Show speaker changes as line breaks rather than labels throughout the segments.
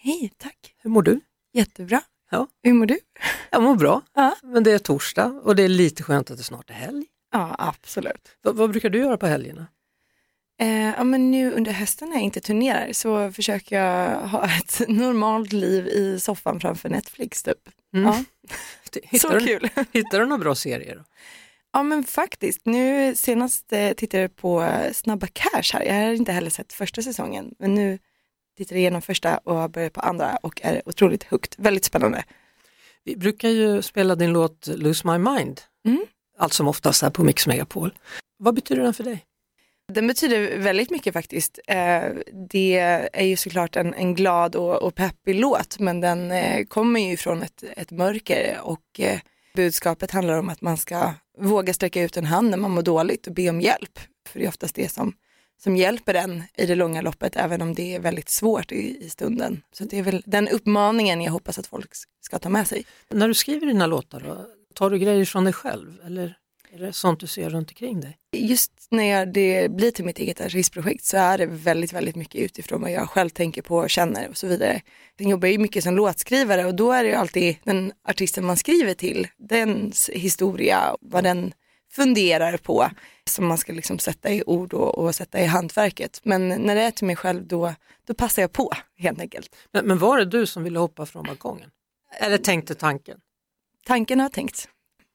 Hej, tack.
Hur mår du?
Jättebra.
Ja.
Hur mår du?
Jag mår bra,
Ja.
men det är torsdag och det är lite skönt att det snart är helg.
Ja, absolut.
Va- vad brukar du göra på helgerna?
Eh, ja, men nu under hösten när jag inte turnerar så försöker jag ha ett normalt liv i soffan framför Netflix typ. Ja,
Mm. Hittar
så
du,
kul.
Hittar du några bra serier? Då?
Ja men faktiskt, nu senast eh, tittade jag på eh, Snabba Cash här. Jag har inte heller sett första säsongen men nu tittar jag igenom första och har börjat på andra och är otroligt hooked. Väldigt spännande.
Vi brukar ju spela din låt Lose My Mind,
Mm.
allt som oftast här på Mix Megapol. Vad betyder den för dig?
Den betyder väldigt mycket faktiskt. Eh, Det är ju såklart en, en glad och, och peppig låt men den eh, kommer ju från ett, ett mörker och eh, budskapet handlar om att man ska våga sträcka ut en hand när man mår dåligt och be om hjälp. För det är oftast det som, som hjälper en i det långa loppet även om det är väldigt svårt i, i stunden. Så det är väl den uppmaningen jag hoppas att folk ska ta med sig.
När du skriver dina låtar, då, tar du grejer från dig själv eller är det sånt du ser runt omkring dig?
Just när jag- det blir till mitt eget artistprojekt så är det väldigt, väldigt mycket utifrån vad jag själv tänker på och känner och så vidare. Sen jobbar jag ju mycket som låtskrivare och då är det ju alltid den artisten man skriver till, dens historia, vad den funderar på som man ska liksom sätta i ord och, och sätta i hantverket. Men när det är till mig själv då, då passar jag på helt enkelt.
Men, men var det du som ville hoppa från balkongen? Eller tänkte tanken?
tanken har jag tänkt.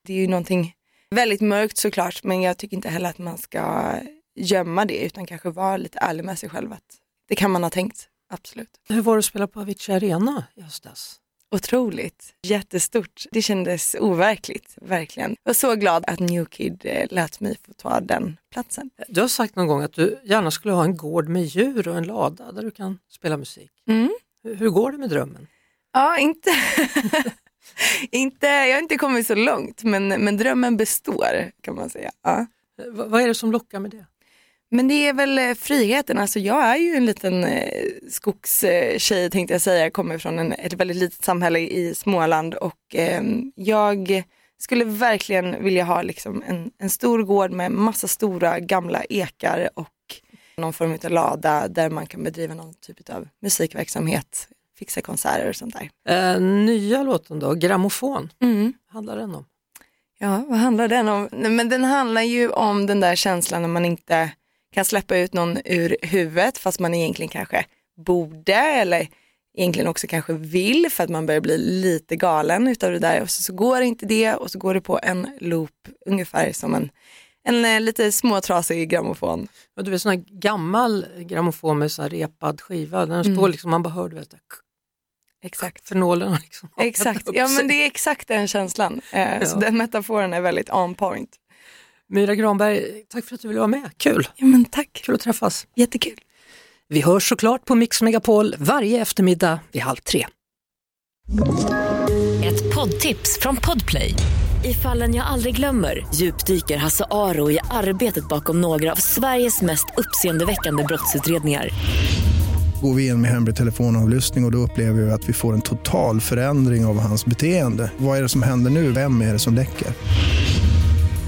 Det är ju någonting väldigt mörkt såklart men jag tycker inte heller att man ska gömma det utan kanske vara lite ärlig med sig själv att det kan man ha tänkt, absolut.
Hur var det att spela på Avicii Arena i höstas?
Otroligt, jättestort. Det kändes overkligt, verkligen. Jag var så glad att New Kid eh, lät mig få ta den platsen.
Du har sagt någon gång att du gärna skulle ha en gård med djur och en lada där du kan spela musik.
Mm.
Hur, hur går det med drömmen?
Ja, inte... inte... Jag har inte kommit så långt men, men drömmen består kan man säga. Ja.
Eh, vad- vad är det som lockar med det?
Men det är väl eh, friheten, alltså jag är ju en liten eh, skogstjej eh, tänkte jag säga, jag kommer från en, ett väldigt litet samhälle i Småland och eh, jag skulle verkligen vilja ha liksom en, en stor gård med massa stora gamla ekar och någon form av lada där man kan bedriva någon typ av musikverksamhet, fixa konserter och sånt där.
Eh, nya låten då, Grammofon, handlar den om?
Ja, vad handlar den om? Nej, men den handlar ju om den där känslan när man inte kan släppa ut någon ur huvudet fast man egentligen kanske borde eller egentligen också kanske vill för att man börjar bli lite galen utav det där och så, så går inte det och så går det på en loop ungefär som en, en eh, lite småtrasig grammofon.
Ja, Du vet sån här gammal grammofon med sån här repad skiva, den står liksom, man bara hör du vet, det här, k-
Exakt.
för nålen har liksom
Exakt,
upp
ja
sig.
men det är exakt den känslan. Eh, Så
Ja.
den metaforen är väldigt on point.
Myra Granberg, tack för att du ville vara med, kul,
Ja men tack,
kul att träffas.
jättekul.
Vi hörs såklart på Mix Megapol varje eftermiddag vid halv tre.
Ett poddtips från Podplay. I fallen jag aldrig glömmer djupdyker Hasse Aro i arbetet bakom några av Sveriges mest uppseendeväckande brottsutredningar.
går vi in med hemlig telefonavlyssning och, och då upplever vi att vi får en total förändring av hans beteende. Vad är det som händer nu? Vem är det som läcker?